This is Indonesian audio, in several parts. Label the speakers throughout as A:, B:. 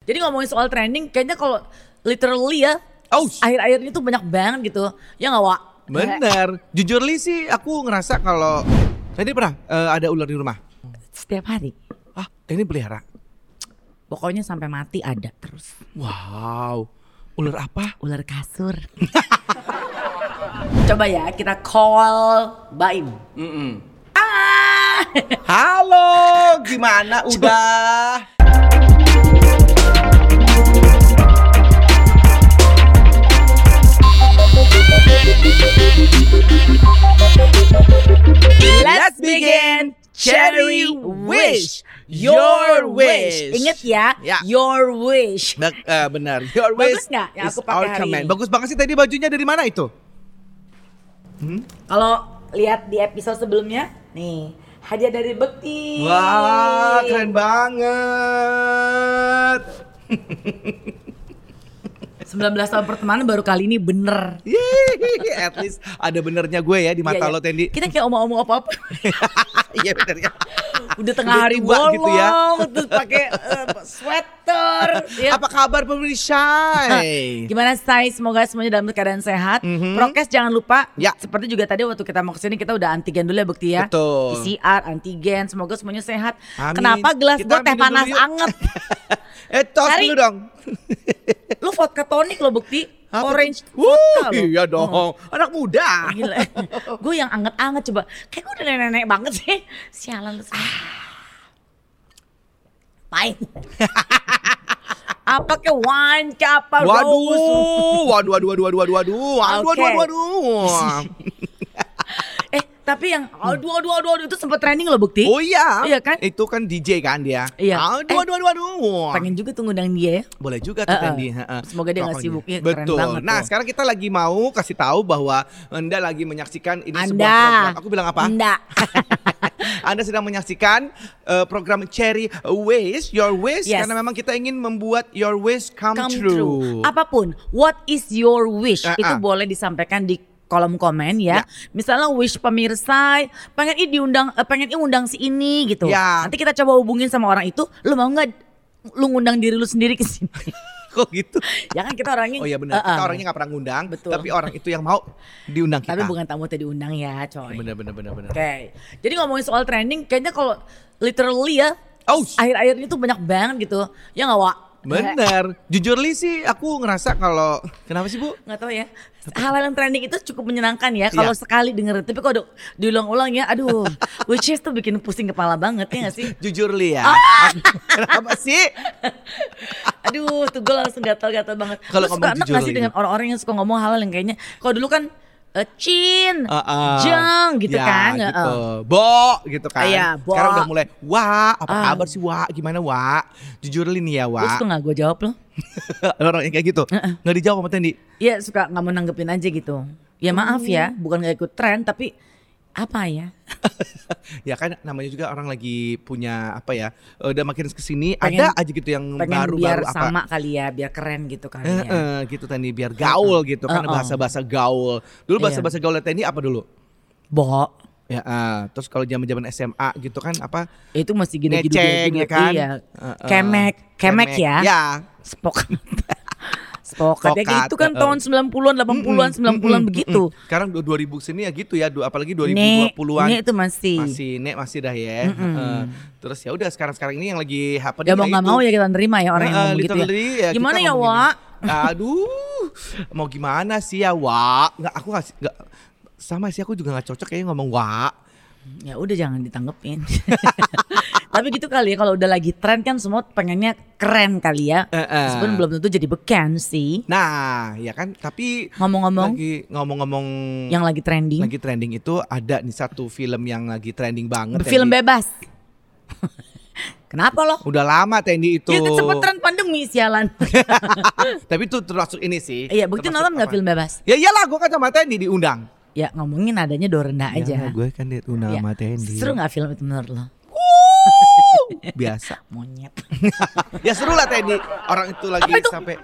A: Jadi ngomongin soal trending, kayaknya kalau literally ya,
B: Oh, sh-
A: akhir-akhir ini tuh banyak banget gitu. Ya nggak, Wak?
B: bener. Jujur li sih aku ngerasa kalau tadi pernah eh, ada ular di rumah.
A: Setiap hari.
B: Ah, ini pelihara.
A: Pokoknya sampai mati ada terus.
B: Wow, ular apa?
A: Ular kasur. Coba ya kita call Baim. Ah!
B: Halo, gimana udah?
A: Let's begin Cherry Wish Your Wish. Ingat ya,
B: Ya.
A: Your Wish.
B: Bak- eh, benar. Your
A: Bagus
B: ways
A: nggak yang
B: is
A: aku pakai
B: our
A: hari
B: command.
A: ini?
B: Bagus banget sih tadi bajunya dari mana itu?
A: Kalau lihat di episode sebelumnya, nih hadiah dari Bekti.
B: Wah, keren banget.
A: 19 tahun pertemanan baru kali ini bener.
B: Yeay, at least ada benernya gue ya di mata
A: Iya, iya.
B: lo Tendi.
A: Kita kayak omong-omong apa-apa.
B: Iya bener ya.
A: Udah tengah
B: Udah
A: hari
B: tua
A: bolong,
B: gitu ya.
A: terus pakai eh, sweater. ya.
B: Apa kabar pemirsa?
A: Gimana Sai? Semoga semuanya dalam keadaan sehat.
B: Mhm.
A: Prokes jangan lupa.
B: Ya.
A: Seperti juga tadi waktu kita mau kesini kita udah antigen dulu ya bukti ya.
B: Betul.
A: PCR, antigen. Semoga semuanya sehat.
B: Amin.
A: Kenapa gelas
B: Kita
A: gue teh
B: minum dulu
A: panas
B: yuk.
A: anget?
B: eh, tos
A: Cari.
B: dulu dong.
A: Lu vodka tonic lo bukti.
B: Apa tuh?
A: Orange
B: Wuh,
A: vodka lo.
B: iya dong.
A: Oh,
B: Anak muda.
A: gila. gue yang anget-anget coba. Kayak gue udah nenek-nenek banget sih. Sialan lu.
B: Ah.
A: Pahit. apa ke wine ke apa rose.
B: Waduh, waduh, waduh, waduh, waduh, waduh, waduh, waduh,
A: Oke.
B: waduh, waduh.
A: Eh tapi yang aduh aduh aduh, aduh itu sempet trending loh bukti.
B: Oh iya,
A: Iya kan?
B: Itu kan DJ kan dia.
A: Iya.
B: Aduh,
A: Eh,
B: aduh, aduh, aduh.
A: Pengen juga tuh ngundang dia ya.
B: Boleh juga tuh
A: Eh, eh.
B: Tendi. heeh.
A: Semoga dia nggak
B: Pokoknya.
A: sibuk, ya, keren
B: Betul.
A: banget
B: nah,
A: tuh.
B: sekarang kita lagi mau kasih tahu bahwa Anda lagi menyaksikan ini sebuah
A: Anda.
B: program. Aku bilang apa?
A: Anda.
B: Anda sedang menyaksikan eh, program Cherry Wish Your Wish
A: Yes.
B: karena memang kita ingin membuat Your Wish come,
A: Come
B: true.
A: true. Apapun, what is your wish?
B: Eh,
A: Itu
B: eh.
A: boleh disampaikan di kolom komen ya.
B: Ya.
A: Misalnya wish pemirsa pengen i diundang eh, pengen i undang si ini gitu.
B: Ya.
A: Nanti kita coba hubungin sama orang itu, lu mau nggak lu ngundang diri lu sendiri ke sini?
B: Kok gitu?
A: ya kan kita orangnya
B: Oh iya benar. Kita
A: Eh, eh.
B: orangnya nggak pernah ngundang,
A: Betul.
B: tapi orang itu yang mau diundang kita. Iya,
A: Tapi bukan tamu tadi diundang ya, coy. Oke.
B: bener bener bener bener.
A: Jadi ngomongin soal trending kayaknya kalau literally ya
B: Oh, sh-
A: akhir-akhir ini tuh banyak banget gitu. Ya nggak, Wak?
B: bener. Jujur li sih aku ngerasa kalau kenapa sih, Bu?
A: nggak tahu ya hal yang trending itu cukup menyenangkan ya kalau
B: Iya.
A: sekali dengerin tapi kalau du- diulang-ulang ya aduh which is tuh bikin pusing kepala banget ya gak sih
B: Jujur li ya.
A: Ah!
B: kenapa sih?
A: aduh tuh gue langsung gatal-gatal banget
B: Kalau
A: Lu suka
B: ngomong
A: enak
B: jujur
A: gak sih
B: lagi.
A: dengan orang-orang yang suka ngomong hal yang kayaknya kalau dulu kan eh, Cin,
B: Ah, ah.
A: Jeng gitu
B: Ya,
A: kan eh,
B: gitu.
A: eh.
B: Bo gitu kan.
A: Iya, bo.
B: Sekarang udah mulai, "Wah, apa
A: Ah.
B: kabar sih, Wak? Gimana, Wak?" Jujur li nih ya,
A: Lu suka
B: Wak.
A: gak gue jawab lo?
B: orang yang kayak gitu.
A: Heeh.
B: Nggak dijawab sama Tendi.
A: Iya suka gak mau nanggepin aja gitu Ya maaf
B: Hmm.
A: ya bukan gak ikut tren tapi apa ya
B: ya kan namanya juga orang lagi punya apa ya udah makin kesini
A: Pengen-
B: ada aja gitu yang
A: Pengen biar
B: baru-baru apa
A: sama kali ya biar keren gitu kali ya
B: Eh, eh, gitu Tendi biar gaul gitu kan
A: Uh-uh.
B: bahasa-bahasa gaul dulu
A: Iya.
B: bahasa-bahasa gaul Tendi apa dulu
A: Bo
B: ya eh, terus kalau zaman-zaman SMA gitu kan apa
A: itu masih gini gini
B: Neceng, ya kan?
A: iya
B: Heeh.
A: kemek kemek ya
B: ya
A: spok spokat ya
B: Spokat,
A: itu kan
B: heeh.
A: tahun 90-an 80-an 90-an begitu
B: sekarang du- 2000 sini ya gitu ya du- apalagi
A: Nek,
B: 2020-an
A: nek itu masih.
B: masih nek masih dah ya
A: Mm-mm.
B: Eh, terus ya udah sekarang-sekarang ini yang lagi happening
A: ya mau
B: ya
A: nggak
B: itu.
A: mau ya kita nerima ya orang yang
B: Nah,
A: ngomong gitu ya.
B: literally kita
A: gimana ya
B: ngomongin
A: Wak
B: ini. Aduh, mau gimana sih ya Wak? Nggak, aku nggak, nggak sama sih aku juga nggak cocok kayaknya ngomong Wak.
A: ya udah jangan ditanggepin tapi gitu kali ya kalau udah lagi tren kan semua pengennya keren kali ya
B: Eh, eh.
A: meskipun belum tentu jadi beken sih
B: Nah, ya kan. Tapi
A: ngomong-ngomong
B: lagi ngomong-ngomong
A: yang lagi trending
B: lagi trending itu ada nih satu film yang lagi trending banget.
A: film
B: Tendi.
A: bebas kenapa lo
B: Udah lama Tendi itu. Ah,
A: Ya kan sempet tren pandemi sialan
B: Tapi itu termasuk ini sih.
A: Iya, bukti
B: termasuk
A: nonton nggak
B: apa?
A: film bebas?
B: Ya iyalah, gue kan sama Tendi diundang.
A: Ya ngomongin adanya do rendah
B: Ya,
A: aja.
B: gue kan diundang
A: Ya.
B: sama Tendi.
A: Seru nggak film itu menurut lo? ya.
B: Biasa.
A: Monyet.
B: ya seru lah Teddy orang itu lagi
A: Apa itu?
B: sampai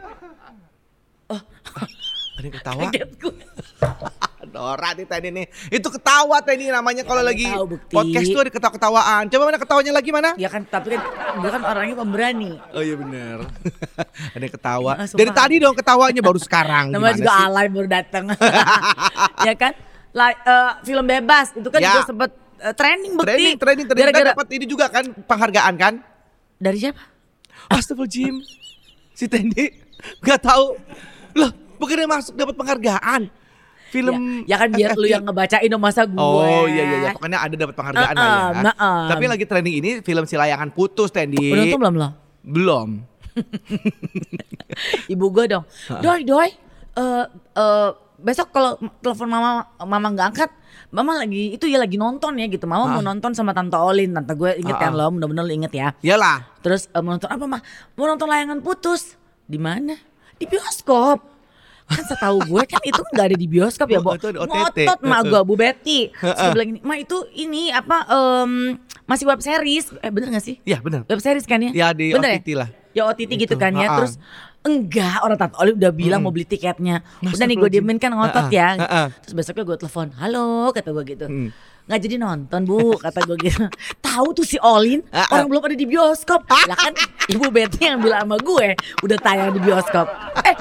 B: oh. ada yang ketawa
A: Kaget gue.
B: Norak nih Teni nih. Itu ketawa Teni namanya kalau
A: kamu
B: lagi
A: Ya, tahu, Bukti.
B: podcast tuh ada ketawa-ketawaan. Coba mana ketawanya lagi mana?
A: Ya kan tapi kan gue kan orangnya pemberani.
B: Oh iya bener Ada yang ketawa.
A: Ah, sumpah.
B: Dari tadi dong ketawanya baru sekarang.
A: Namanya
B: Gimana
A: juga
B: sih?
A: alay baru datang. ya kan? Lai- eh, film bebas itu kan
B: Ya.
A: juga sempet eh, trending bukti.
B: Training, training, training. Kita
A: Gara-gara
B: dapat ini juga kan penghargaan kan?
A: dari siapa?
B: Astagfirullahaladzim. Si Teni nggak tahu. Loh, bukannya masuk dapat penghargaan. Film
A: ya, ya kan biar lu
B: FFP.
A: yang ngebacain dong masa gue.
B: Oh iya iya iya pokoknya ada dapat penghargaan lah ya.
A: Naam, naam.
B: Tapi lagi trending ini film si layangan putus Tendi.
A: Udah nonton belum lo?
B: Belum.
A: Ibu gue dong. Doi doi. eh, eh, besok kalau m- telepon mama mama nggak angkat Mama lagi itu ya lagi nonton ya gitu. Mama mau nonton sama Tante Olin. Tante gue inget
B: Ah,
A: kan lo, mudah-mudahan lo inget ya.
B: Iyalah.
A: Terus eh, mau nonton apa mah? Mau nonton layangan putus. Di mana? Di bioskop. Kan setahu gue kan itu nggak ada di bioskop ya,
B: Oh,
A: Bo.
B: itu ada OTT.
A: Ngotot mah gue Bu Betty. Terus gue bilang ini, "Ma itu ini apa em, masih web series." Eh bener gak sih?
B: Ya benar.
A: Web series kan ya?
B: Ya, di
A: Bener
B: OTT lah.
A: Ya OTT gitu
B: Itu,
A: kan ya.
B: ha-ha. Hmm.
A: Terus enggak orang Tante Oli udah bilang mau beli tiketnya. Udah nih gue
B: Astagfirullahaladzim.
A: diemin kan ngotot
B: Ha-ha,
A: ya.
B: ha-ha. Hmm.
A: Terus besoknya gue telepon, halo kata gue gitu. Nggak jadi nonton bu, kata gue gitu. Tahu tuh si Olin,
B: Ha-ha.
A: orang belum ada di bioskop. Lah kan ibu Betty yang bilang sama gue, udah tayang di bioskop. Eh,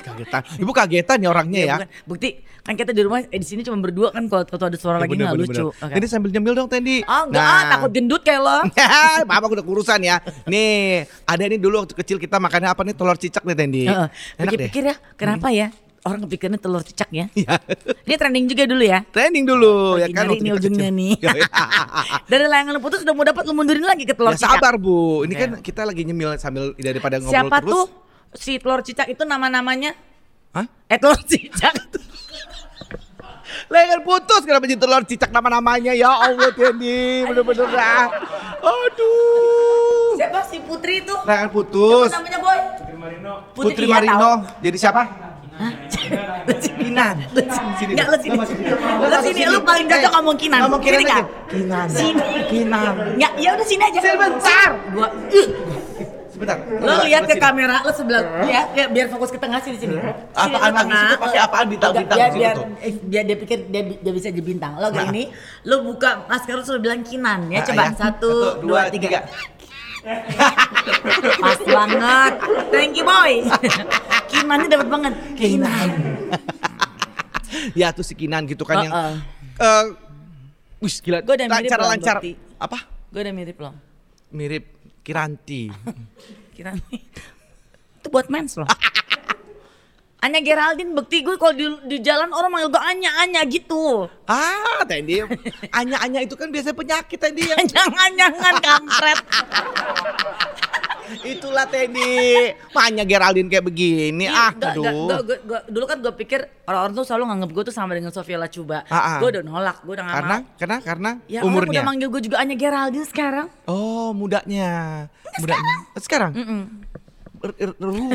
B: Kagetan. Ibu kagetan ya orangnya ya.
A: bukan. bukti kan kita di rumah eh, di sini cuma berdua kan kalau kalau ada suara
B: Ya,
A: lagi
B: bener,
A: nggak
B: bener,
A: lucu.
B: bener. Nah.
A: Oke.
B: Jadi sambil nyemil dong Tendi.
A: Oh enggak, takut gendut kayak lo.
B: Maaf aku udah kurusan ya. Nih, ada ini dulu waktu kecil kita makannya apa nih telur cicak nih Tendi.
A: Heeh.
B: Enak deh. Hmm.
A: Pikir-pikir ya, kenapa ya orang kepikirannya telur cicak ya?
B: Iya.
A: Ini trending juga dulu ya.
B: Training dulu ya
A: Lagi
B: kan
A: nyari
B: waktu
A: nih
B: kita
A: ujungnya
B: kecil. Ya, Iya,
A: nih. Dari layangan lu putus udah mau dapat lu mundurin lagi ke telur
B: Ya
A: cicak.
B: sabar Bu, ini
A: Oke.
B: kan kita lagi nyemil sambil daripada ngobrol
A: Siapa
B: terus.
A: tuh si telur cicak itu nama-namanya?
B: Hah?
A: Eh telur cicak.
B: Lengan putus kenapa jadi telur cicak nama-namanya ya Allah Tendi bener-bener dah. Aduh.
A: Siapa si Putri itu?
B: Lengan
A: Siapa
B: putus.
A: namanya Boy?
B: Nah,
A: iya,
B: Putri Nah,
A: tahu.
B: Marino jadi siapa?
A: Hah? Lu sini.
B: Kinan.
A: Lu sini.
B: Sini,
A: Enggak,
B: Bang.
A: lu sini.
B: Lu sini.
A: Lu sini, lu paling cocok
B: Eh,
A: ngomong kinan.
B: ngomong kinan
A: Sini
B: aja.
A: nggak?
B: Kinan.
A: Sini.
B: Kinan.
A: Enggak, ya udah sini aja. uh.
B: Sebentar.
A: Gua Ih,
B: Sebentar.
A: Lo lihat ke kamera lo sebelah ya, ya biar fokus ke tengah sini sini. Sini,
B: Apaan
A: lo
B: lagi
A: tengah.
B: situ? Pakai apaan bintang-bintang
A: Biar,
B: di situ
A: biar,
B: tuh?
A: eh, biar dia pikir dia, bi- dia bisa jadi bintang. Lo kayak ini, lo buka masker lo suruh bilang kinan ya.
B: Nah,
A: Coba
B: ya.
A: satu, dua, tiga. Pas banget. Thank you boy. Kinannya dapat banget. Kinan.
B: ya tuh si Kinan gitu kan yang
A: Uh-uh.
B: eh wih gila
A: Gua udah mirip
B: lancar
A: Bang
B: lancar
A: Bakti.
B: apa
A: Gue udah mirip lo.
B: mirip Kiranti
A: Kinan. Itu buat mens loh. Anya Geraldine bukti gue kalau di, di jalan orang manggil gue Anya Anya gitu.
B: ah Tendi anya-anya itu kan biasanya penyakit Tendi yang
A: Jangan jangan kampret.
B: Itulah Teddy. Makanya Geraldine kayak begini. Ah,
A: Iya, Nggak,
B: aduh.
A: nggak, nggak, gua- gua- dulu kan gue pikir orang-orang tuh selalu nganggap gue tuh sama dengan Sofia Lacuba.
B: Ah, ah.
A: Gue udah nolak, gue udah nggak
B: karena
A: mau.
B: karena karena
A: Ya orang
B: umurnya.
A: udah manggil gue juga Anya Geraldine sekarang.
B: Oh, mudanya. Mudanya. Sekarang. Er- er- eru.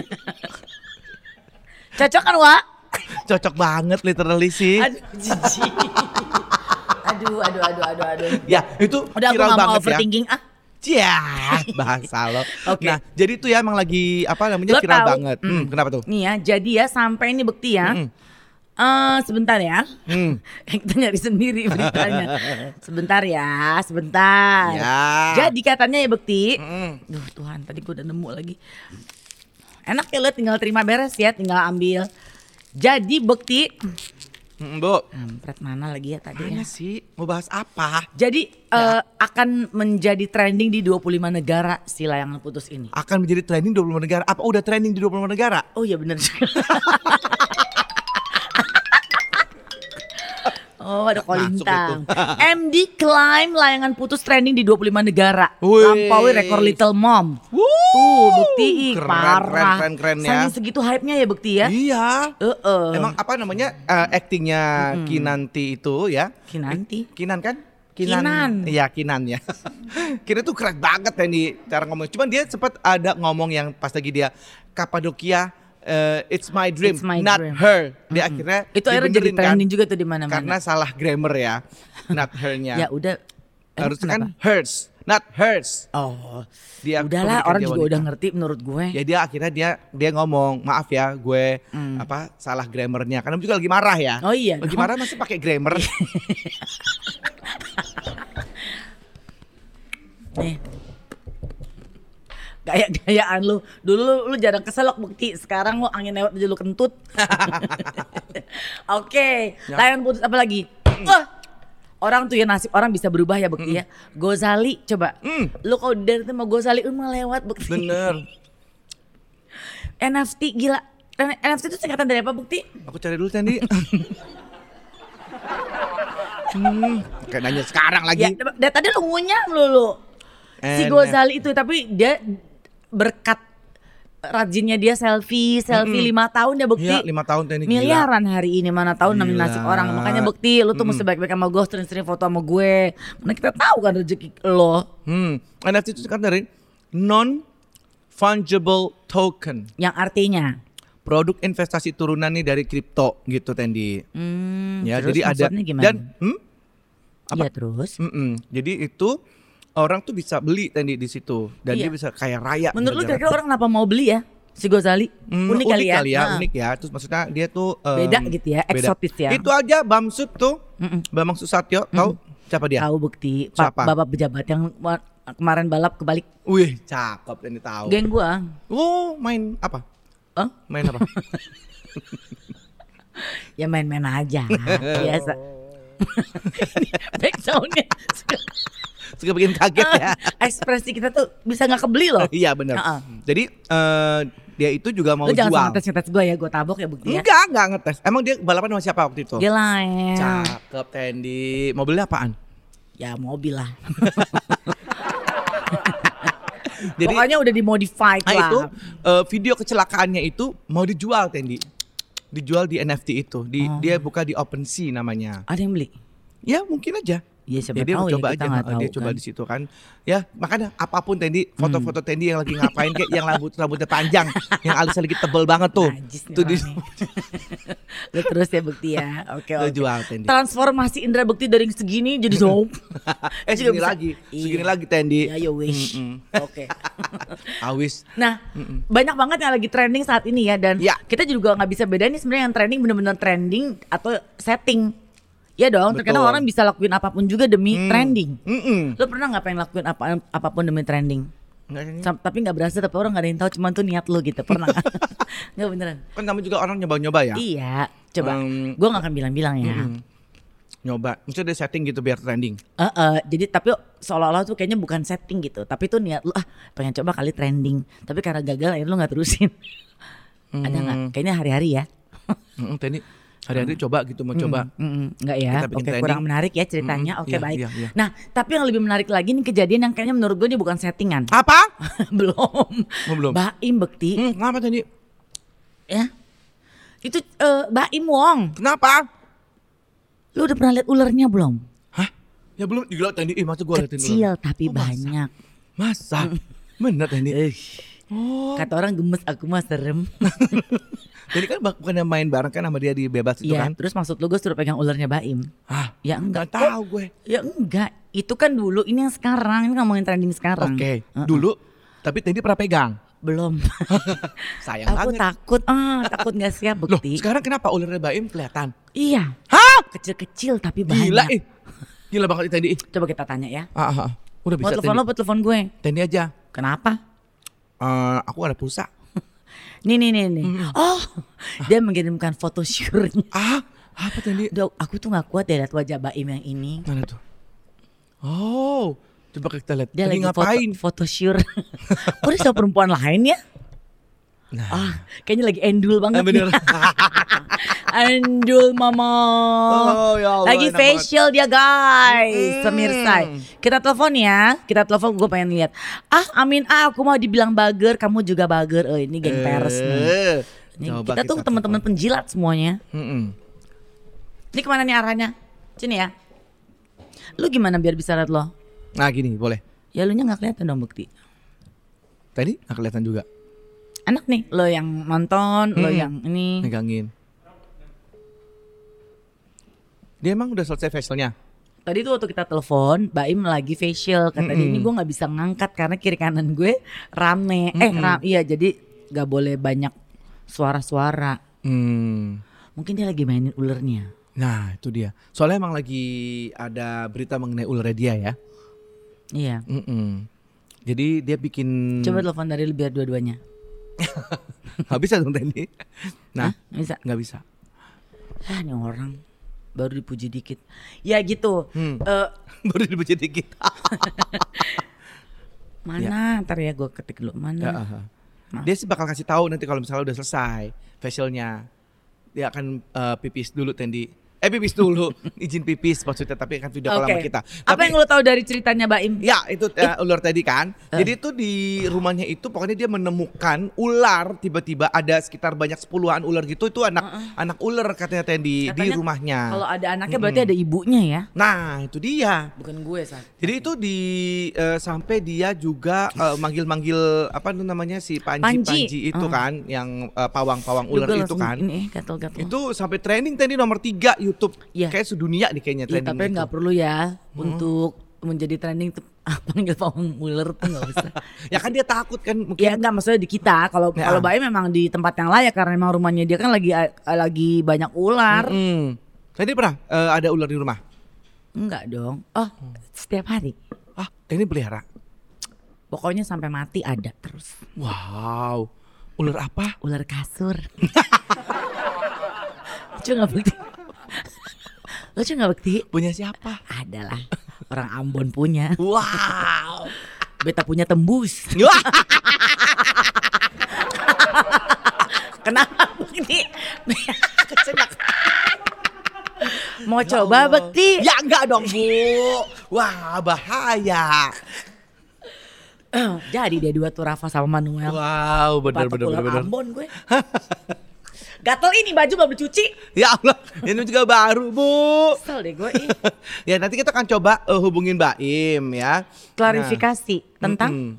A: Cocok kan Wa?
B: Cocok banget literally sih.
A: Aduh jijik. aduh, aduh, aduh, aduh, aduh.
B: Ya, itu
A: Udah gue
B: viral
A: gak mau
B: banget ya.
A: overthinking ah.
B: Cia, bahasa lo.
A: Oke.
B: Nah, jadi itu ya emang lagi apa namanya
A: Lo
B: viral
A: tahu-
B: banget. Hmm, kenapa tuh?
A: Nih ya, jadi ya sampai ini bukti ya. Eh sebentar ya.
B: Hmm.
A: Kita nyari sendiri beritanya. Sebentar ya, sebentar.
B: Ya.
A: Jadi katanya ya Bekti.
B: Hmm.
A: Duh Tuhan, tadi gue udah nemu lagi. Enak ya lo tinggal terima beres ya, tinggal ambil. Jadi Bekti.
B: Hmm,
A: Iya.
B: Bu.
A: Kampret mana lagi ya tadi ya.
B: Mana Ya. sih? Mau bahas apa?
A: Jadi eh, akan menjadi trending di 25 negara si layangan putus ini.
B: Akan menjadi trending 25 negara. Apa udah trending di 25 negara?
A: Oh iya bener juga. Oh ada
B: Masuk
A: kolintang
B: itu.
A: MD klaim layangan putus trending di 25 negara
B: Wih.
A: Lampaui rekor Little Mom
B: Wuh,
A: Tuh bukti
B: keren,
A: parah
B: keren, keren, keren ya.
A: Saking segitu hype-nya ya bukti ya
B: Iya.
A: Heeh.
B: Emang apa namanya eh, actingnya Kinanti itu ya?
A: Kinanti
B: Kinan kan?
A: Kinan.
B: Iya Kinan ya. Kinan tuh keren banget Randy cara ngomong. Cuman dia sempat ada ngomong yang pas lagi dia Kapadokia eh, It's my dream,
A: It's my
B: not
A: dream.
B: her. Dia akhirnya
A: Itu akhirnya jadi
B: dibenerin kan,
A: trending juga tuh di mana-mana
B: karena salah grammar ya, not her-nya.
A: Ya udah Emang
B: Harusnya kan
A: kenapa?
B: hers, not hers.
A: Oh,
B: Dia
A: udahlah orang
B: kemudian
A: juga
B: dia wanita.
A: udah ngerti menurut gue.
B: Ya dia akhirnya dia dia ngomong maaf ya gue apa salah grammarnya karena juga lagi marah ya.
A: Hmm. Oh iya dong.
B: Lagi
A: Iya,
B: marah masih pakai grammar.
A: Nih. Gaya-gayaan lu. Dulu lu, lu jarang keselok bukti, sekarang lu angin lewat aja lu kentut. Oke,
B: Ya.
A: layan putus apa lagi?
B: Mm.
A: Wah, Orang tuh ya nasib orang bisa berubah ya bukti ya. Gozali coba. Lu kalau dari itu mau Gozali lu mau lewat bukti.
B: Mm. Bener.
A: NFT gila. N- NFT itu singkatan dari apa bukti?
B: Aku cari dulu Candi. hmm, kayak nanya sekarang
A: Ya,
B: lagi.
A: dari tadi lu ngunyah lu lu. Si
B: NFT.
A: Gozali itu tapi dia berkat rajinnya dia selfie, selfie lima tahun dia bukti.
B: Iya, lima tahun Candi gila.
A: miliaran hari ini mana tahu namanya
B: Gila. Hmm.
A: nasib orang makanya bukti lu tuh mesti baik-baik sama gue sering-sering foto sama gue mana kita tahu kan rezeki lo
B: Hmm, NFT itu singkat dari non fungible token.
A: yang artinya
B: Produk investasi turunan nih dari kripto gitu Tendi.
A: hmm,
B: ya,
A: terus
B: jadi ada
A: maksudnya gimana?
B: dan hmm,
A: Iya, terus
B: mm-mm. jadi itu orang tuh bisa beli Tendi di situ dan
A: Iya.
B: dia bisa kayak raya.
A: menurut lu
B: gara-gara-
A: kira-kira orang kenapa mau beli ya si Gozali
B: Hmm,
A: unik, kali ya, Nah.
B: unik ya. Terus maksudnya dia tuh em,
A: Beda gitu ya, eksotis ya.
B: Itu aja Bamsud tuh, Bambang Susatyo, tahu siapa dia?
A: tahu bukti pa-
B: ya. Siapa?
A: bapak pejabat yang wa- kemarin balap kebalik
B: Wih, cakep ini tahu.
A: geng gua
B: Oh, main apa?
A: Hah?
B: Main apa?
A: ya main-main aja biasa backsoundnya
B: Suka bikin kaget ya.
A: ekspresi kita tuh bisa nggak kebeli loh
B: Iya benar.
A: Ha-ha.
B: Jadi eh, dia itu juga mau
A: Lu jangan
B: jual.
A: sama ngetes-ngetes gue ya, gue tabok ya buktinya
B: Enggak, enggak ngetes. Emang dia balapan sama siapa waktu itu?
A: Dia lain
B: Cakep Tendi. Mau beli apaan?
A: Ya mobil lah
B: Jadi
A: Pokoknya udah dimodified
B: nah,
A: lah
B: itu eh, video kecelakaannya itu mau dijual Tendi. Dijual di NFT itu. Di
A: Oh.
B: dia buka di OpenSea namanya.
A: Ada yang beli?
B: Ya, mungkin aja.
A: Iya, siapa
B: dia
A: tahu ya,
B: coba
A: kita
B: aja,
A: nggak
B: nah, dia
A: tahu
B: coba
A: kan. Hmm.
B: di situ kan. Ya, makanya apapun Tendi, foto-foto Tendi yang lagi ngapain kayak yang rambut rambutnya panjang, yang alisnya lagi tebel banget tuh.
A: Najis nih
B: Itu di
A: orang Lu terus ya bukti ya Oke
B: Lu
A: oke
B: jual, Tendi.
A: Transformasi indera bukti dari yang segini jadi zoom Juga
B: eh segini
A: bisa.
B: lagi, segini
A: Iya.
B: lagi Tendi.
A: Ya
B: Ah,
A: you wish Oke
B: Awis.
A: Nah, banyak banget yang lagi trending saat ini ya dan
B: Ya.
A: kita juga nggak bisa bedain nih sebenarnya yang trending bener-bener trending atau setting. Ya dong, terkadang
B: Betul. Hmm.
A: orang bisa lakuin apapun juga demi trending.
B: Mm-mm.
A: Lo pernah nggak pengen lakuin apa apapun demi trending?
B: Nggak, Tendi.
A: Sam- tapi nggak berasa tapi orang nggak ada yang tahu cuman tuh niat lo gitu pernah nggak? nggak beneran
B: Kan kamu juga orang nyoba-nyoba ya?
A: iya coba
B: Um,
A: gue nggak akan bilang-bilang ya
B: Nyoba. Maksudnya dia setting gitu biar trending.
A: Eh, eh, jadi tapi seolah-olah tuh kayaknya bukan setting gitu tapi tuh niat lo ah pengen coba kali trending tapi karena gagal akhirnya lo nggak terusin ada
B: Mm.
A: nggak kayaknya hari-hari ya
B: Mm-mm, Tendi
A: Mm.
B: hari-hari coba gitu mau coba.
A: Mm-mm, nggak ya
B: Kita bikin
A: oke
B: trending.
A: kurang menarik ya ceritanya
B: Mm-mm,
A: oke
B: iya,
A: baik
B: iya, iya.
A: nah tapi yang lebih menarik lagi nih kejadian yang kayaknya menurut gue ini bukan settingan
B: Apa?
A: belum
B: Oh, belum.
A: Baim Bekti
B: Hmm, kenapa Tendi?
A: ya itu eh, Baim Wong
B: Kenapa?
A: Lu udah pernah lihat ularnya belum?
B: Hah? Ya belum gila Tendi. Ih, masa gua liatin
A: Kecil
B: dulu.
A: tapi
B: Oh, masa?
A: banyak. Mm.
B: Masa? Bener Oh. Tendi.
A: Eh, Kata orang gemes aku mah serem.
B: Jadi kan bak- bukannya main bareng kan sama dia di bebas itu
A: Iya,
B: kan?
A: terus maksud lu gue suruh pegang ularnya Baim.
B: Hah?
A: Ya enggak.
B: Nggak tahu gue.
A: Ya enggak. Itu kan dulu, ini yang sekarang, ini ngomongin trending sekarang.
B: Oke,
A: Eh,
B: dulu tapi Tendi pernah pegang.
A: belum.
B: Sayang
A: aku
B: banget.
A: takut, ah takut nggak siap
B: Loh,
A: bukti.
B: sekarang kenapa ularnya Baim kelihatan?
A: iya,
B: Hah?
A: kecil-kecil tapi banyak.
B: Gila ih. Gila banget Tendi. ih.
A: Coba kita tanya ya.
B: Ah, ah, ah.
A: Mau
B: Udah bisa
A: telepon
B: Tendi.
A: lo, mau telepon gue.
B: Tendi aja.
A: Kenapa?
B: Eh, aku ada pulsa.
A: Nih nih nih nih. Oh, dia mengirimkan foto syurnya.
B: Ah, apa Tendi?
A: Dok, aku tuh nggak kuat ya lihat wajah Baim yang ini.
B: Mana tuh? Oh, coba kita lihat.
A: Dia
B: Tendi
A: lagi
B: ngapain?
A: foto, foto syur. Kok dia sama perempuan lain ya?
B: Nah.
A: Ah, kayaknya lagi endul banget.
B: Ah, bener.
A: nih. endul mama.
B: Oh, ya Allah,
A: lagi
B: enak
A: facial dia guys,
B: Hmm.
A: pemirsa. Kita telepon ya, kita telepon gue pengen lihat. Ah, amin ah, aku mau dibilang bager, kamu juga bager. Eh, ini geng peres nih.
B: Eh,
A: Ini
B: coba
A: kita, tuh teman-teman penjilat semuanya.
B: telepon. Mm-mm.
A: Ini kemana nih arahnya? Sini ya. Lu gimana biar bisa lihat lo?
B: Nah gini boleh.
A: Ya lu nya nggak kelihatan dong bukti.
B: Tadi nggak kelihatan juga.
A: Enak nih, lo yang nonton, lo
B: Mm-mm.
A: yang ini.
B: Megangin. Dia emang udah selesai facialnya?
A: tadi tuh waktu kita telepon, Baim lagi facial kata dia
B: Mm-mm.
A: ini gue nggak bisa ngangkat karena kiri kanan gue rame. Eh, ra- iya jadi nggak boleh banyak suara-suara.
B: Hmm.
A: Mungkin dia lagi mainin ulernya.
B: Nah, itu dia. Soalnya emang lagi ada berita mengenai ulernya dia ya.
A: Iya.
B: Mm-mm. Jadi dia bikin
A: Coba telepon dari lu biar dua-duanya.
B: nggak bisa dong Tendi. Nah,
A: Hah? Bisa.
B: nggak bisa.
A: Ah, ini orang baru dipuji dikit. Ya gitu.
B: Hmm.
A: Eh,
B: Baru dibujuk dikit.
A: mana ntar ya gue ketik dulu
B: Ya,
A: mana.
B: aha.
A: Nah.
B: Dia sih bakal kasih tahu nanti kalau misalnya udah selesai facialnya. Dia akan eh, pipis dulu Tendi. Eh pipis dulu, izin pipis maksudnya tapi akan video call sama kita.
A: Apa
B: Tapi-
A: yang lu tahu dari ceritanya Baim?
B: Ya itu eh, ular tadi kan. Jadi itu di rumahnya itu pokoknya dia menemukan ular tiba-tiba ada sekitar banyak sepuluhan ular gitu itu anak anak ular katanya Tendi di
A: Katanya
B: rumahnya.
A: Kalau ada anaknya berarti ada ibunya ya.
B: Nah itu dia.
A: Bukan gue, San.
B: Jadi itu di eh, sampai dia juga eh, manggil-manggil apa itu namanya si Panji Panji,
A: Panji.
B: itu kan yang eh, pawang-pawang ular
A: Juga
B: itu
A: langsung
B: kan.
A: Ini eh, gatel-gatel.
B: Itu sampai trending Tendi nomor 3 YouTube.
A: Iya.
B: Kayak sedunia nih kayaknya
A: Iya,
B: trending.
A: tapi
B: itu. Hmm.
A: nggak perlu ya untuk menjadi trending tuh panggil pawang ular tuh nggak usah.
B: Ya kan dia takut kan mungkin.
A: ya nggak maksudnya di kita kalau
B: Ya.
A: kalau Baim memang di tempat yang layak karena memang rumahnya dia kan lagi lagi banyak ular.
B: Mm. Tendi pernah eh, ada ular di rumah? Hmm.
A: Enggak dong. Oh, setiap hari.
B: Ah, Tendi pelihara.
A: Pokoknya sampai mati ada terus.
B: Wow, ular apa?
A: Ular kasur. Lucu nggak bukti? Lucu nggak bukti?
B: Punya siapa?
A: Adalah orang Ambon punya.
B: Wow.
A: Beta punya tembus. Kenapa Bekti? Kecenak. Mau coba Bekti?
B: Ya enggak dong bu. Wah bahaya.
A: Eh, Jadi dia dua tuh Rafa sama Manuel.
B: Wow benar
A: Batak
B: benar
A: Pulau
B: benar. benar.
A: Ambon gue. Gatel ini baju belum dicuci.
B: Ya Allah, ini juga baru bu.
A: Kesel deh gue. ih.
B: ya nanti kita akan coba eh, hubungin Mbak Im ya. Nah.
A: Klarifikasi tentang
B: Mm-mm.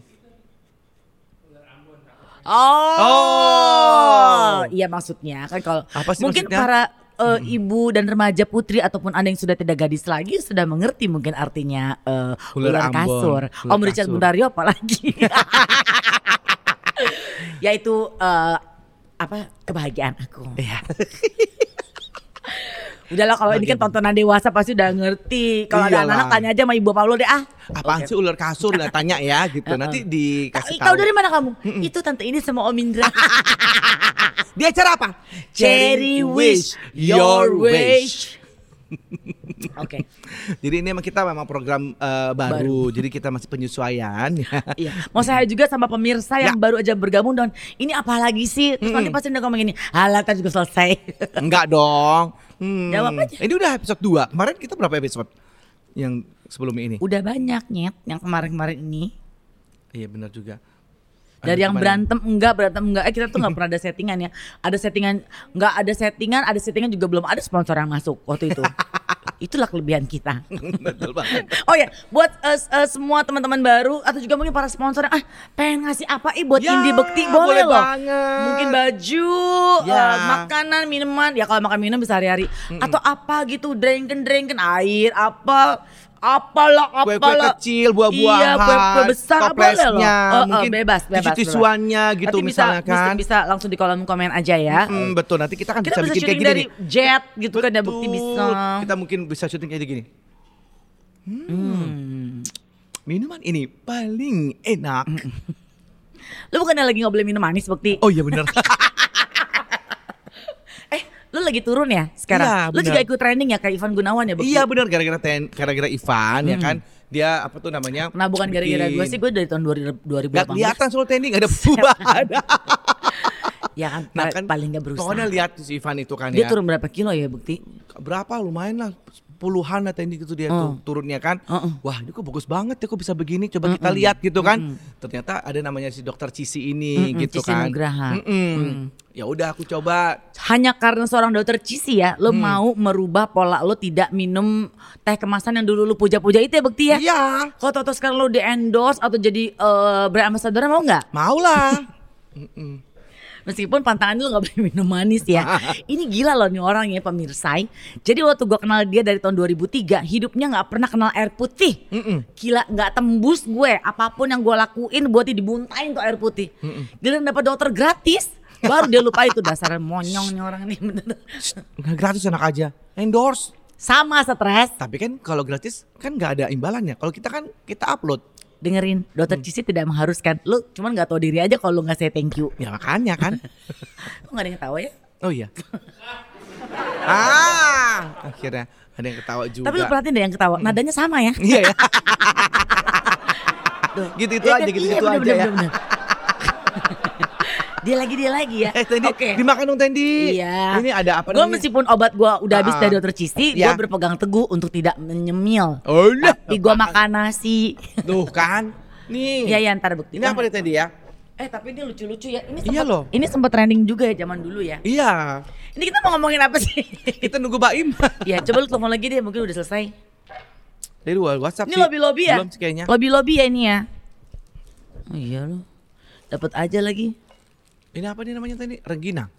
A: Oh.
B: Oh.
A: Iya maksudnya kan kalau
B: Apa sih
A: mungkin
B: maksudnya?
A: para eh, ibu dan remaja putri ataupun Anda yang sudah tidak gadis lagi sudah mengerti mungkin artinya eh,
B: Ular
A: ular
B: Ambon,
A: kasur.
B: ular
A: Om Richard
B: kasur.
A: Bundario apalagi. Yaitu eh, apa kebahagiaan aku.
B: Iya.
A: Udahlah kalau ini kan tontonan dewasa pasti udah ngerti. Kalau ada
B: Iyalah.
A: anak-anak tanya aja sama ibu Paulo deh ah.
B: Apaan sih ular kasur? Nah, tanya ya gitu. Nanti dikasih
A: Tahu
B: tahu. Ah,
A: dari mana kamu? Itu tante ini sama Om Indra.
B: Di acara apa?
A: Cherry wish your wish. Oke.
B: Jadi ini emang kita memang program eh, baru, jadi kita masih penyesuaian.
A: Iya, mau saya juga sama pemirsa yang
B: Ya.
A: baru aja bergabung dan ini apa lagi sih? Terus nanti pasti udah ngomong gini, halah kan juga selesai.
B: Enggak dong. Hmm.
A: Jawab aja.
B: Ini udah episode 2. Kemarin kita berapa episode? Yang sebelum ini.
A: udah banyak nyet yang kemarin-kemarin ini.
B: Iya benar juga.
A: Dari
B: Aduh,
A: yang
B: kemarin.
A: berantem enggak, berantem enggak. Eh kita tuh nggak pernah ada settingan ya. Ada settingan enggak ada settingan, ada settingan juga belum ada sponsor yang masuk waktu itu. Itulah kelebihan kita.
B: Betul banget.
A: Oh ya, buat eh, s- eh, semua teman-teman baru atau juga mungkin para sponsor yang ah pengen ngasih apa ih buat
B: Ya,
A: Indie Bekti
B: boleh
A: boleh, loh.
B: banget.
A: Mungkin baju,
B: Ya.
A: eh, makanan, minuman. Ya kalau makan minum bisa hari-hari atau apa gitu, drinken-drinken air, apa apalah apalah.
B: Kue-kue kecil, buah-buahan,
A: Iya, kue-kue besar apa boleh loh.
B: toplesnya,
A: Eh, eh,
B: mungkin
A: bebas, bebas. bebas.
B: tisu-tisuannya gitu
A: Nanti bisa-
B: misalnya kan.
A: Bisa, bisa langsung di kolom komen aja ya.
B: Hmm, betul. Nanti kita kan
A: Kita
B: bisa,
A: bisa,
B: bikin kayak
A: syuting
B: gini.
A: dari
B: nih.
A: jet gitu kan ada
B: Betul.
A: bukti bisa.
B: Kita mungkin bisa syuting kayak gini. Hmm. Minuman ini paling enak.
A: Lu bukannya lagi nggak boleh minum manis Bekti?
B: Oh iya benar.
A: Eh, lu lagi turun ya sekarang?
B: Iya,
A: lu
B: bener.
A: juga ikut training ya kayak Ivan Gunawan ya? Bekti?
B: Iya benar gara-gara ten, gara-gara Ivan ya kan dia apa tuh namanya?
A: Nah bukan gara-gara gue sih, gue dari tahun 2000
B: Gak
A: 2018
B: kelihatan soal tending ada perubahan.
A: Ya kan,
B: Nah,
A: pa- paling gak berusaha
B: Pokoknya lihat tuh si Ivan itu kan
A: Dia
B: ya.
A: turun berapa kilo ya Bukti?
B: Berapa lumayan lah puluhan lah tending itu dia
A: Oh.
B: tuh turunnya kan.
A: Heeh.
B: Wah, ini kok bagus banget ya kok bisa begini. Coba kita
A: Hmm.
B: lihat gitu kan. Ternyata ada namanya si dokter Cisi ini
A: Mm-mm,
B: gitu
A: Cici Hmm,
B: kan.
A: Nugraha. Hmm.
B: Mm-mm. Ya udah aku coba
A: Hanya karena seorang dokter Cisi ya,
B: Hmm.
A: lo mau merubah pola lo tidak minum teh kemasan yang dulu lo puja-puja itu ya Bukti ya?
B: Iya.
A: Kalau tau sekarang lo di endorse atau jadi eh brand ambassador mau nggak?
B: Mau lah.
A: Meskipun pantangan lu nggak boleh minum manis ya. Ini gila loh nih orang ya pemirsa. Jadi waktu gue kenal dia dari tahun 2003, hidupnya nggak pernah kenal air putih.
B: Mm-mm.
A: Gila nggak tembus gue. Apapun yang gue lakuin buat dibuntain tuh air putih. Gila dapat dokter gratis. Baru dia lupa itu dasar monyong nih orang nih bener.
B: Nggak gratis enak aja. Endorse.
A: Sama stres.
B: Tapi kan kalau gratis kan nggak ada imbalannya. Kalau kita kan kita upload.
A: Dengerin,
B: Mm.
A: dokter Cici tidak mengharuskan. Lu cuman nggak tahu diri aja kalau lu nggak say thank you.
B: Ya makanya kan.
A: Kok nggak ada yang ketawa ya?
B: Oh iya. ah, akhirnya ada yang ketawa juga. Mm.
A: Tapi lu perhatiin deh yang ketawa, nadanya sama ya.
B: Iya ya. gitu itu
A: Ya
B: aja,
A: kan?
B: gitu
A: Iya,
B: itu aja
A: bener-bener,
B: ya.
A: bener-bener. dia lagi dia lagi ya.
B: Eh Tendi,
A: Oke.
B: dimakan dong Tendi.
A: Iya.
B: Ini ada apa
A: Gue
B: namanya?
A: meskipun obat gue udah habis
B: Ah.
A: dari dokter Cisti,
B: Ya.
A: gue berpegang teguh untuk tidak menyemil.
B: Oh iya.
A: Tapi gue makan nasi.
B: Tuh kan. Nih.
A: Iya ya ntar bukti.
B: Ini apa nih Tendi ya?
A: Eh tapi dia lucu-lucu ya. Ini
B: Iya
A: sempet-
B: loh.
A: Ini sempat trending juga ya zaman dulu ya.
B: Iya.
A: Ini kita mau ngomongin apa sih?
B: Kita nunggu Baim.
A: ya coba lu telepon lagi deh mungkin udah selesai.
B: Dari WhatsApp
A: Ini
B: sih.
A: lobby-lobby ya?
B: Belum sih kayaknya.
A: Lobby-lobby ya ini ya. Oh iya loh. Dapat aja lagi.
B: Ini apa nih namanya Tendi? Rengginang.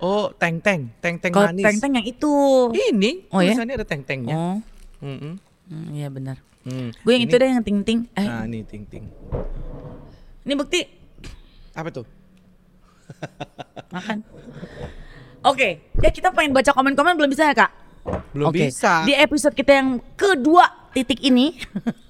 B: Oh, teng-teng, teng-teng
A: Kalau
B: manis. Iya.
A: teng-teng yang itu.
B: Ini
A: Oh ya?
B: tulisannya ada teng-tengnya.
A: Oh.
B: Mm-mm.
A: Hmm, Iya benar.
B: Hmm.
A: Gue yang
B: Ini-
A: itu deh yang ting-ting. Eh,
B: Nah, ini ting-ting.
A: ini bukti
B: Apa tuh?
A: makan. Oke, ya kita pengen baca komen-komen belum bisa ya kak?
B: Belum
A: Oke.
B: bisa.
A: Di episode kita yang kedua titik ini.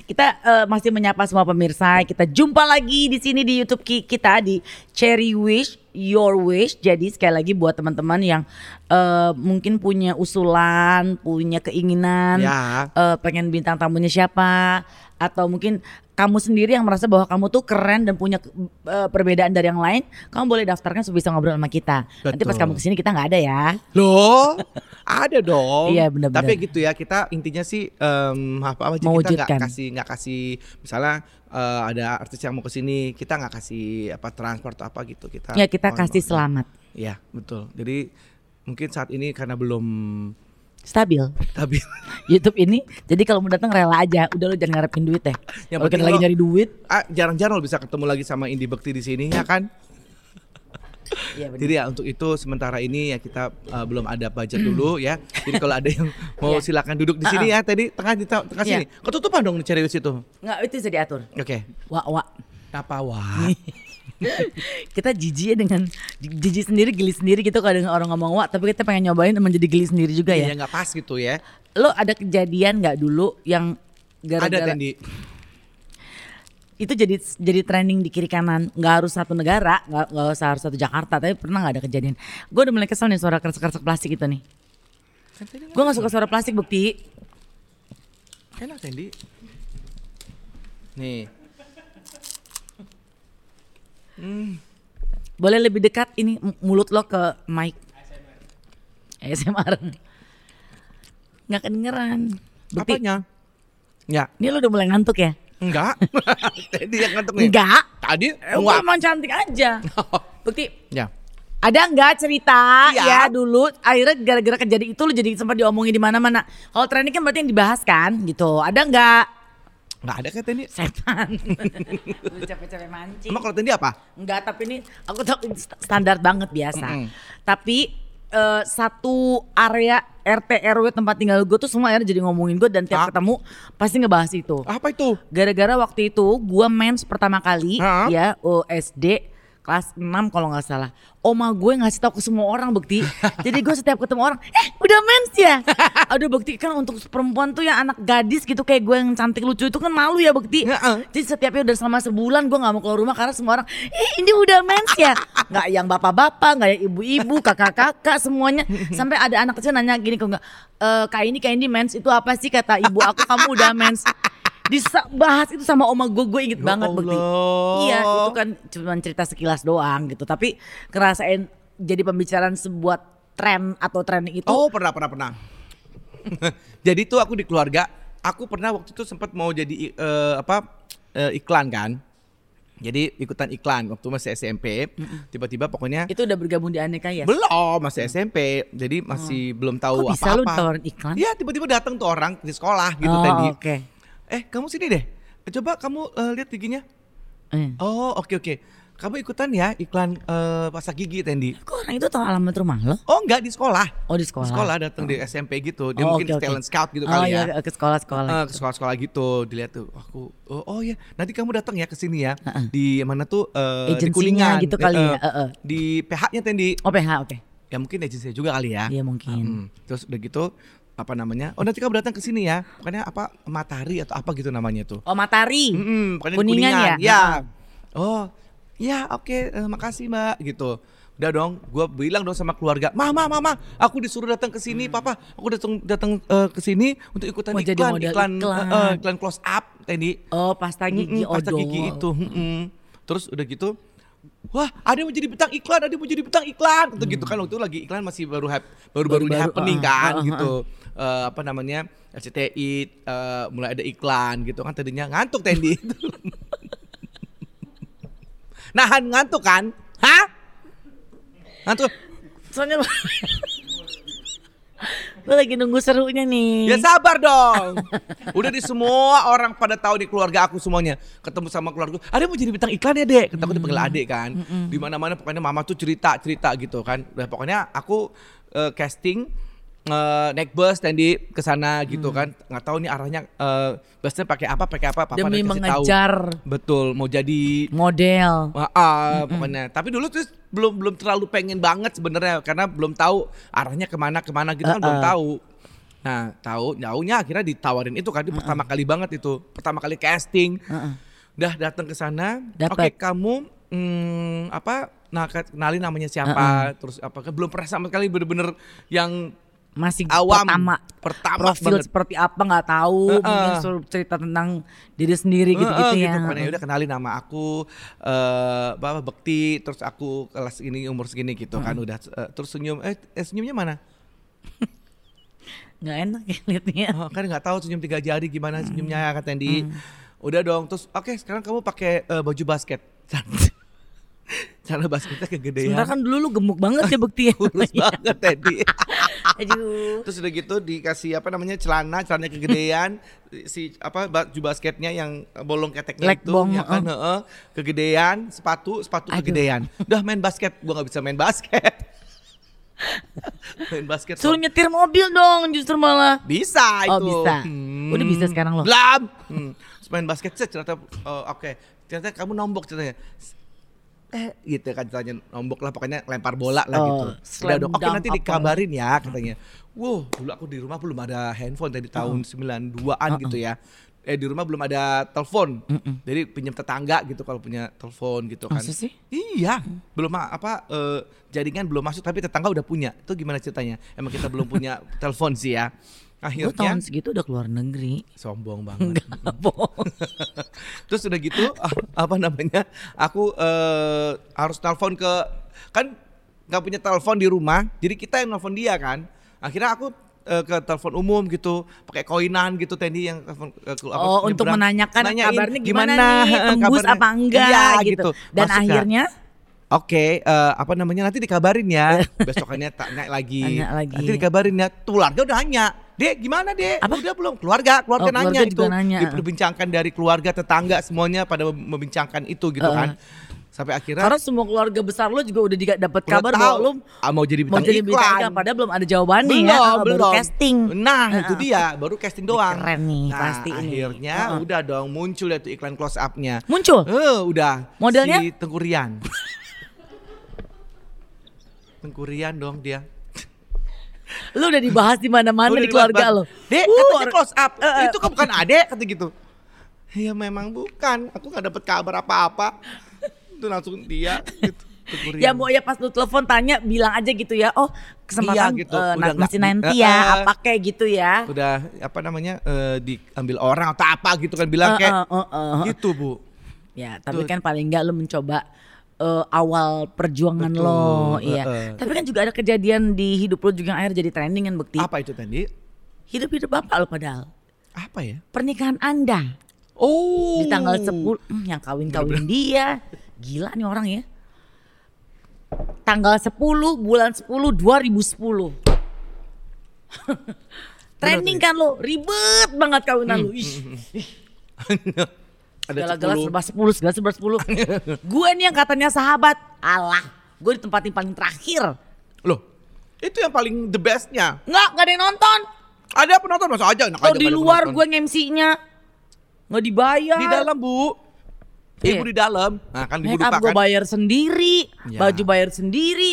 A: Kita eh, masih menyapa semua pemirsa. Kita jumpa lagi di sini di YouTube ki- kita di Cherry Wish Your Wish. Jadi sekali lagi buat teman-teman yang eh, mungkin punya usulan, punya keinginan,
B: Ya.
A: eh, pengen bintang tamunya siapa, atau mungkin kamu sendiri yang merasa bahwa kamu tuh keren dan punya ke- eh, perbedaan dari yang lain, kamu boleh daftarkan sebisa ngobrol sama kita. Nanti pas
B: Betul.
A: kamu kesini kita nggak ada ya.
B: Loh, ada dong.
A: Iya, benar-benar.
B: Tapi gitu ya, kita intinya sih em, apa apa aja kita
A: Mewujudkan.
B: nggak kasih nggak kasih misalnya eh, ada artis yang mau kesini kita nggak kasih apa transport atau apa gitu kita.
A: Ya kita
B: mohon
A: kasih
B: maaf.
A: selamat.
B: Iya betul. Jadi mungkin saat ini karena belum
A: stabil
B: tapi
A: YouTube ini jadi kalau mau datang rela aja udah lo jangan ngarepin duit deh
B: Yang
A: Kalau
B: penting
A: kita lagi
B: lo-
A: nyari duit
B: ah, jarang-jarang lo bisa ketemu lagi sama Indi Bekti di sini ya kan.
A: Iya
B: Jadi ya untuk itu sementara ini ya kita eh, belum ada budget dulu ya. Jadi kalau ada yang mau
A: Iya.
B: silakan duduk di sini ya. Tadi tengah di tengah
A: Iya.
B: sini. Ketutupan dong cari di situ.
A: nggak itu bisa diatur
B: Oke.
A: wah wah
B: Apa wah?
A: kita jijik ya dengan jijik sendiri geli sendiri gitu kalau dengan orang ngomong wah tapi kita pengen nyobain menjadi geli sendiri juga ya
B: Iya nggak pas gitu ya.
A: lo ada kejadian nggak dulu yang
B: Ada
A: gara-gara
B: Tendi.
A: itu jadi jadi trending di kiri kanan nggak harus satu negara nggak nggak usah harus satu Jakarta tapi pernah nggak ada kejadian gue udah mulai kesel nih suara kersek kersek plastik itu nih
B: Kan
A: gue nggak suka suara plastik bukti
B: Enak Tendi. Nih.
A: Boleh lebih dekat ini m- mulut lo ke mic. ASMR. Nggak kedengeran. Bukti.
B: Apanya? Ya.
A: Ini lo udah mulai ngantuk ya?
B: Enggak. Tendi yang ngantuk nih.
A: Enggak.
B: Tadi
A: Eh,
B: enggak.
A: gua emang cantik aja. Bukti.
B: ya.
A: Ada nggak cerita
B: Iya.
A: ya dulu akhirnya gara-gara kejadian itu lo jadi sempat diomongin di mana-mana. Kalau trending kan berarti yang dibahas kan gitu. Ada nggak?
B: Enggak ada kan Tendi?
A: Setan. Lu capek-capek mancing.
B: Emang kalau Tendi apa?
A: Enggak, tapi ini aku tahu ini st- standar banget biasa.
B: Mm-mm.
A: Tapi eh, satu area RT RW tempat tinggal gue tuh semua akhirnya jadi ngomongin gue dan tiap
B: Ah.
A: ketemu pasti ngebahas itu.
B: Apa itu?
A: Gara-gara waktu itu gue mens pertama kali
B: Ah.
A: ya oh, SD kelas 6 kalau nggak salah. Oma gue ngasih tahu ke semua orang bukti. Jadi gue setiap ketemu orang, eh udah mens ya. Aduh bukti kan untuk perempuan tuh yang anak gadis gitu kayak gue yang cantik lucu itu kan malu ya bukti.
B: Heeh.
A: Jadi setiapnya udah selama sebulan gue nggak mau keluar rumah karena semua orang, eh ini udah mens ya. Nggak yang bapak-bapak, nggak yang ibu-ibu, kakak-kakak semuanya. Sampai ada anak kecil nanya gini ke gue, "Eh, kak ini kak ini mens itu apa sih kata ibu aku kamu udah mens. Dibahas itu sama oma gue, gue inget
B: Ya
A: banget bukti.
B: Allah.
A: Iya itu kan cuma cerita sekilas doang gitu. Tapi ngerasain jadi pembicaraan sebuah tren atau trending itu.
B: Oh pernah pernah pernah. jadi tuh aku di keluarga, aku pernah waktu itu sempat mau jadi eh, apa eh, iklan kan. Jadi ikutan iklan waktu masih SMP, tiba-tiba pokoknya
A: Itu udah bergabung di Aneka ya?
B: belum Oh, masih SMP, jadi masih belum tahu
A: Hmm. Kok bisa lu
B: apa-apa.
A: ditawarin iklan?
B: Iya tiba-tiba datang tuh orang di sekolah gitu
A: oh,
B: tadi.
A: oke.
B: Eh kamu sini deh, coba kamu eh, lihat giginya.
A: Eh.
B: Oh oke oke. kamu ikutan ya iklan eh, pasta gigi Tendi.
A: Kok orang itu tahu alamat rumah lo?
B: Oh enggak di sekolah.
A: Oh di sekolah.
B: Di sekolah datang di SMP gitu. Dia
A: Oh,
B: mungkin
A: oke, oke.
B: talent scout
A: oh,
B: gitu kali ya.
A: iya, ke sekolah-sekolah.
B: Eh, ke sekolah-sekolah gitu dilihat tuh aku oh, oh ya nanti kamu datang ya ke sini ya di mana tuh eh, di
A: Agensinya
B: kuningan
A: gitu kali
B: Eh,
A: ya,
B: eh,
A: eh, eh.
B: di PH-nya Tendi
A: Oh PH, oke.
B: ya mungkin agensinya juga kali ya
A: Iya, mungkin.
B: Hmm, terus udah gitu apa namanya oh nanti kamu datang ke sini ya pokoknya apa matahari atau apa gitu namanya tuh
A: Oh Matahari.
B: Mm-mm, pokoknya di
A: Kuningan ya?
B: ya oh ya oke eh, makasih mbak gitu udah dong gue bilang dong sama keluarga mama mama aku disuruh datang ke sini papa aku datang datang eh, ke sini untuk ikutan
A: Hmm. Mau jadi
B: iklan
A: model
B: iklan
A: iklan.
B: eh, eh, iklan close up Tendi
A: Oh pasta gigi,
B: Mm-mm, pasta
A: odol.
B: gigi itu mm-mm. terus udah gitu Wah, ada yang mau jadi bintang iklan, ada yang mau jadi bintang iklan, gitu, gitu kan waktu itu lagi iklan masih baru hype, baru-baru
A: Hmm.
B: ini
A: Baru-baru, ah,
B: happening
A: ah,
B: kan,
A: ah,
B: gitu. Eh, apa namanya RCTI eh, mulai ada iklan, gitu kan tadinya ngantuk Tendi. Nahan ngantuk kan? Hah? Ngantuk?
A: Soalnya Lo lagi nunggu serunya nih.
B: Ya sabar dong. Udah di semua orang pada tahu di keluarga aku semuanya. Ketemu sama keluarga, ada yang mau jadi bintang iklan ya, Dek. Kata aku
A: Hmm.
B: dipanggil Ade kan. Di mana-mana pokoknya mama tuh cerita-cerita gitu kan. Udah pokoknya aku eh, casting eh, naik bus dan di ke sana
A: Hmm.
B: gitu kan. nggak tahu nih arahnya eh, busnya pakai apa, pakai apa, papa
A: Demi
B: udah kasih tahu.
A: mengejar
B: Betul, mau jadi
A: model.
B: Wah, pokoknya. Tapi dulu tuh belum belum terlalu pengen banget sebenarnya karena belum tahu arahnya kemana kemana gitu kan belum tahu. Nah tahu, jauhnya akhirnya ditawarin itu kan di pertama kali banget itu, pertama kali casting. Udah datang ke sana, oke
A: Dapat.
B: kamu hmm, apa? Nah ke- kenalin namanya siapa, terus apa? Belum pernah sama sekali bener-bener yang
A: Masih
B: awam
A: pertama.
B: pertama
A: Profil
B: banget.
A: seperti apa nggak tahu.
B: Heeh.
A: Mungkin suruh cerita tentang diri sendiri
B: Heeh, gitu
A: gitu-gitu ya.
B: pokoknya. udah kenalin nama aku eh Bapak Bekti terus aku kelas ini umur segini gitu kan udah eh, terus senyum eh, eh, senyumnya mana
A: Nggak enak ya liatnya.
B: oh, kan nggak tahu senyum tiga jari gimana senyumnya kata Tendi udah dong terus oke sekarang kamu pakai eh, baju basket cara basketnya
A: Sebentar
B: kegedean
A: kan dulu lu gemuk banget ya bukti ya.
B: iya. kurus banget Tendi
A: Aduh.
B: Terus udah gitu dikasih apa namanya celana, celana kegedean, si apa baju basketnya yang bolong keteknya itu
A: Legbong,
B: ya kan, heeh, kegedean, sepatu, sepatu kegedean. Udah main basket, gua nggak bisa main basket. main basket.
A: Suruh nyetir mobil dong justru malah.
B: Bisa itu. Hmm.
A: Oh, bisa. Udah bisa sekarang lo?
B: Belum. Hmm. Terus main basket set ternyata oh, oke. Ternyata kamu nombok ceritanya. Eh gitu kan ceritanya nombok lah pokoknya lempar bola lah
A: Oh,
B: gitu. Udah
A: slam
B: dong. Oke
A: dunk
B: nanti
A: apa.
B: dikabarin ya katanya. Wow, dulu aku di rumah belum ada handphone dari tahun
A: Uh-uh.
B: 92-an gitu ya. Eh di rumah belum ada telepon. Jadi pinjam tetangga gitu kalau punya telepon gitu kan.
A: Masa sih?
B: Iya, belum ma- apa eh, jaringan belum masuk tapi tetangga udah punya. Itu gimana ceritanya? Emang kita belum punya telepon sih ya.
A: Gue
B: Akhirnya
A: tahun segitu udah keluar negeri.
B: sombong banget.
A: Enggak bohong.
B: Terus udah gitu a- apa namanya? Aku eh, harus telepon ke kan nggak punya telepon di rumah, jadi kita yang nelfon dia kan. Akhirnya aku eh, ke telepon umum gitu, pakai koinan gitu Tendi yang telepon eh, ke- apa,
A: Oh, untuk
B: nyebrang.
A: menanyakan
B: Nanyain,
A: kabarnya gimana, nih,
B: eh,
A: tembus
B: kabarnya?"
A: apa enggak
B: Iya, nah.
A: gitu. Dan
B: Masuk, Kak.
A: akhirnya
B: Oke, eh, apa namanya nanti dikabarin ya. Besokannya tanya lagi.
A: Tanya lagi.
B: Nanti dikabarin ya. Tuh, Keluarga udah nanya. Dek, gimana Dek?
A: Apa?
B: Udah belum? Keluarga, keluarga
A: Oh, keluarga
B: nanya itu.
A: juga nanya.
B: Diperbincangkan dari keluarga, tetangga semuanya pada mem- membincangkan itu gitu
A: Eh.
B: kan. Sampai akhirnya
A: karena semua keluarga besar lo juga udah diga- dapat
B: udah
A: kabar
B: tahu,
A: bahwa lo
B: ah, mau jadi
A: mau
B: bintang
A: jadi
B: iklan.
A: bintang iklan padahal belum ada jawabannya
B: belum,
A: ya. Ah,
B: belum.
A: baru casting. Ah.
B: Nah, itu dia, baru casting doang.
A: keren nih,
B: nah,
A: pasti ini.
B: akhirnya
A: Heeh.
B: udah dong muncul ya tuh iklan close up-nya.
A: Muncul.
B: Eh, udah.
A: Modelnya?
B: Si Tengkurian. Tengkurian dong dia.
A: Lo udah dibahas di mana-mana
B: Udah
A: di keluarga lo.
B: dibahas. Dek,
A: Uh,
B: katanya
A: orang-
B: close up.
A: Eh, eh.
B: Itu kan bukan adek, kata gitu. Ya memang bukan. Aku nggak dapet kabar apa-apa. Itu langsung dia. Gitu. Tengkurian.
A: Ya mau ya pas lu telepon tanya bilang aja gitu ya. Oh, kesempatan
B: Iya, gitu.
A: eh,
B: Udah
A: nah, masih
B: nggak-
A: nanti
B: Eh,
A: ya,
B: eh.
A: apa kayak gitu ya.
B: Udah apa namanya eh, diambil orang atau apa gitu kan bilang
A: Eh,
B: kayak
A: eh, eh, eh.
B: gitu bu.
A: Ya, tapi kan
B: Betul.
A: paling enggak lo mencoba eh, awal perjuangan
B: Betul,
A: lo,
B: eh,
A: iya.
B: eh.
A: Tapi kan juga ada kejadian di hidup lo juga yang akhirnya jadi trending kan bukti.
B: Apa itu tadi?
A: Hidup-hidup bapak lo padahal.
B: Apa ya?
A: Pernikahan Anda
B: Oh.
A: di tanggal 10 Hmm, yang kawin-kawin dia. Gila nih orang ya. Tanggal 10 bulan 10 2010.
B: Hmm.
A: Trending kan lo, ribet banget kawinan lo. Ih, segala
B: Ada
A: gelas
B: 10.
A: serba sepuluh, segala serba sepuluh. gue nih yang katanya sahabat, Allah, gue ditempatin paling terakhir.
B: Loh, itu yang paling the bestnya.
A: Nggak, nggak ada yang nonton.
B: Ada penonton masa aja enak
A: Kalau
B: aja
A: Oh, di
B: nggak ada
A: luar
B: penonton.
A: gue MC-nya nggak dibayar.
B: di dalam, Bu.
A: Iya.
B: Ibu di dalam. Nah, kan ibu
A: Make
B: lupa
A: up gue
B: kan.
A: bayar sendiri,
B: Ya.
A: baju bayar sendiri.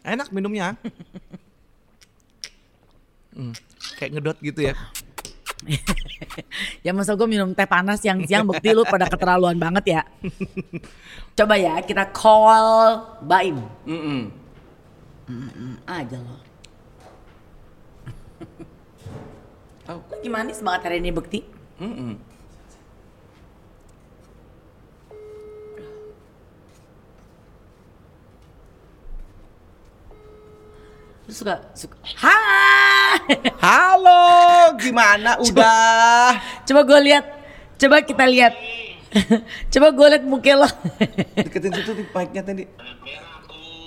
B: Enak minumnya. Hmm, Kayak ngedot gitu ya.
A: Ya masa gue minum teh panas yang siang bukti lu pada keterlaluan banget ya. Coba ya kita call Baim. Mm-mm, Aja loh.
B: Oh.
A: Lu gimana sih semangat hari ini bukti? Lu suka, suka. Hai.
B: Halo, gimana udah?
A: Coba gue lihat, coba kita lihat. coba gue lihat muka lo.
B: Deketin situ di mic-nya tadi.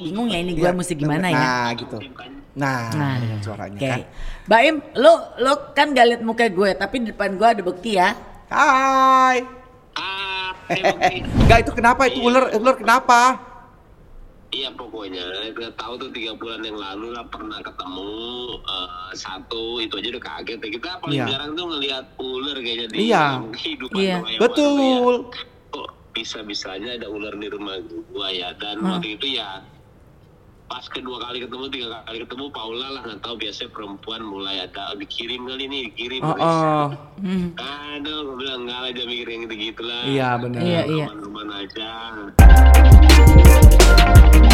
A: Bingung ya ini gue mesti gimana ya?
B: Nah, gitu. Nah, dengan suaranya
A: oke.
B: kan.
A: Baim, lo lo kan gak lihat muka gue, tapi di depan gue ada bukti ya.
B: Hai.
C: Ah,
B: Enggak itu kenapa itu ular ular kenapa?
C: Iya pokoknya kita tahu tuh tiga bulan yang lalu lah pernah ketemu eh, satu itu aja udah kaget ya. kita paling
B: Iya.
C: jarang tuh ngelihat ular kayaknya di
B: Iya.
C: dalam kehidupan
A: Iya.
C: orang yang baru
B: Betul.
C: ya. Kok bisa bisanya ada ular di rumah gua ya dan
A: Hmm.
C: waktu itu ya pas kedua kali ketemu tiga kali ketemu Paula lah nggak tahu biasanya perempuan mulai ada dikirim kali nih dikirim.
B: Oh, oh.
A: Hmm.
C: Aduh, gua bilang nggak lah jangan
B: Nah,
C: mikir yang gitu-gitu lah.
B: Iya benar.
A: Iya, iya.
C: Aman-aman aja.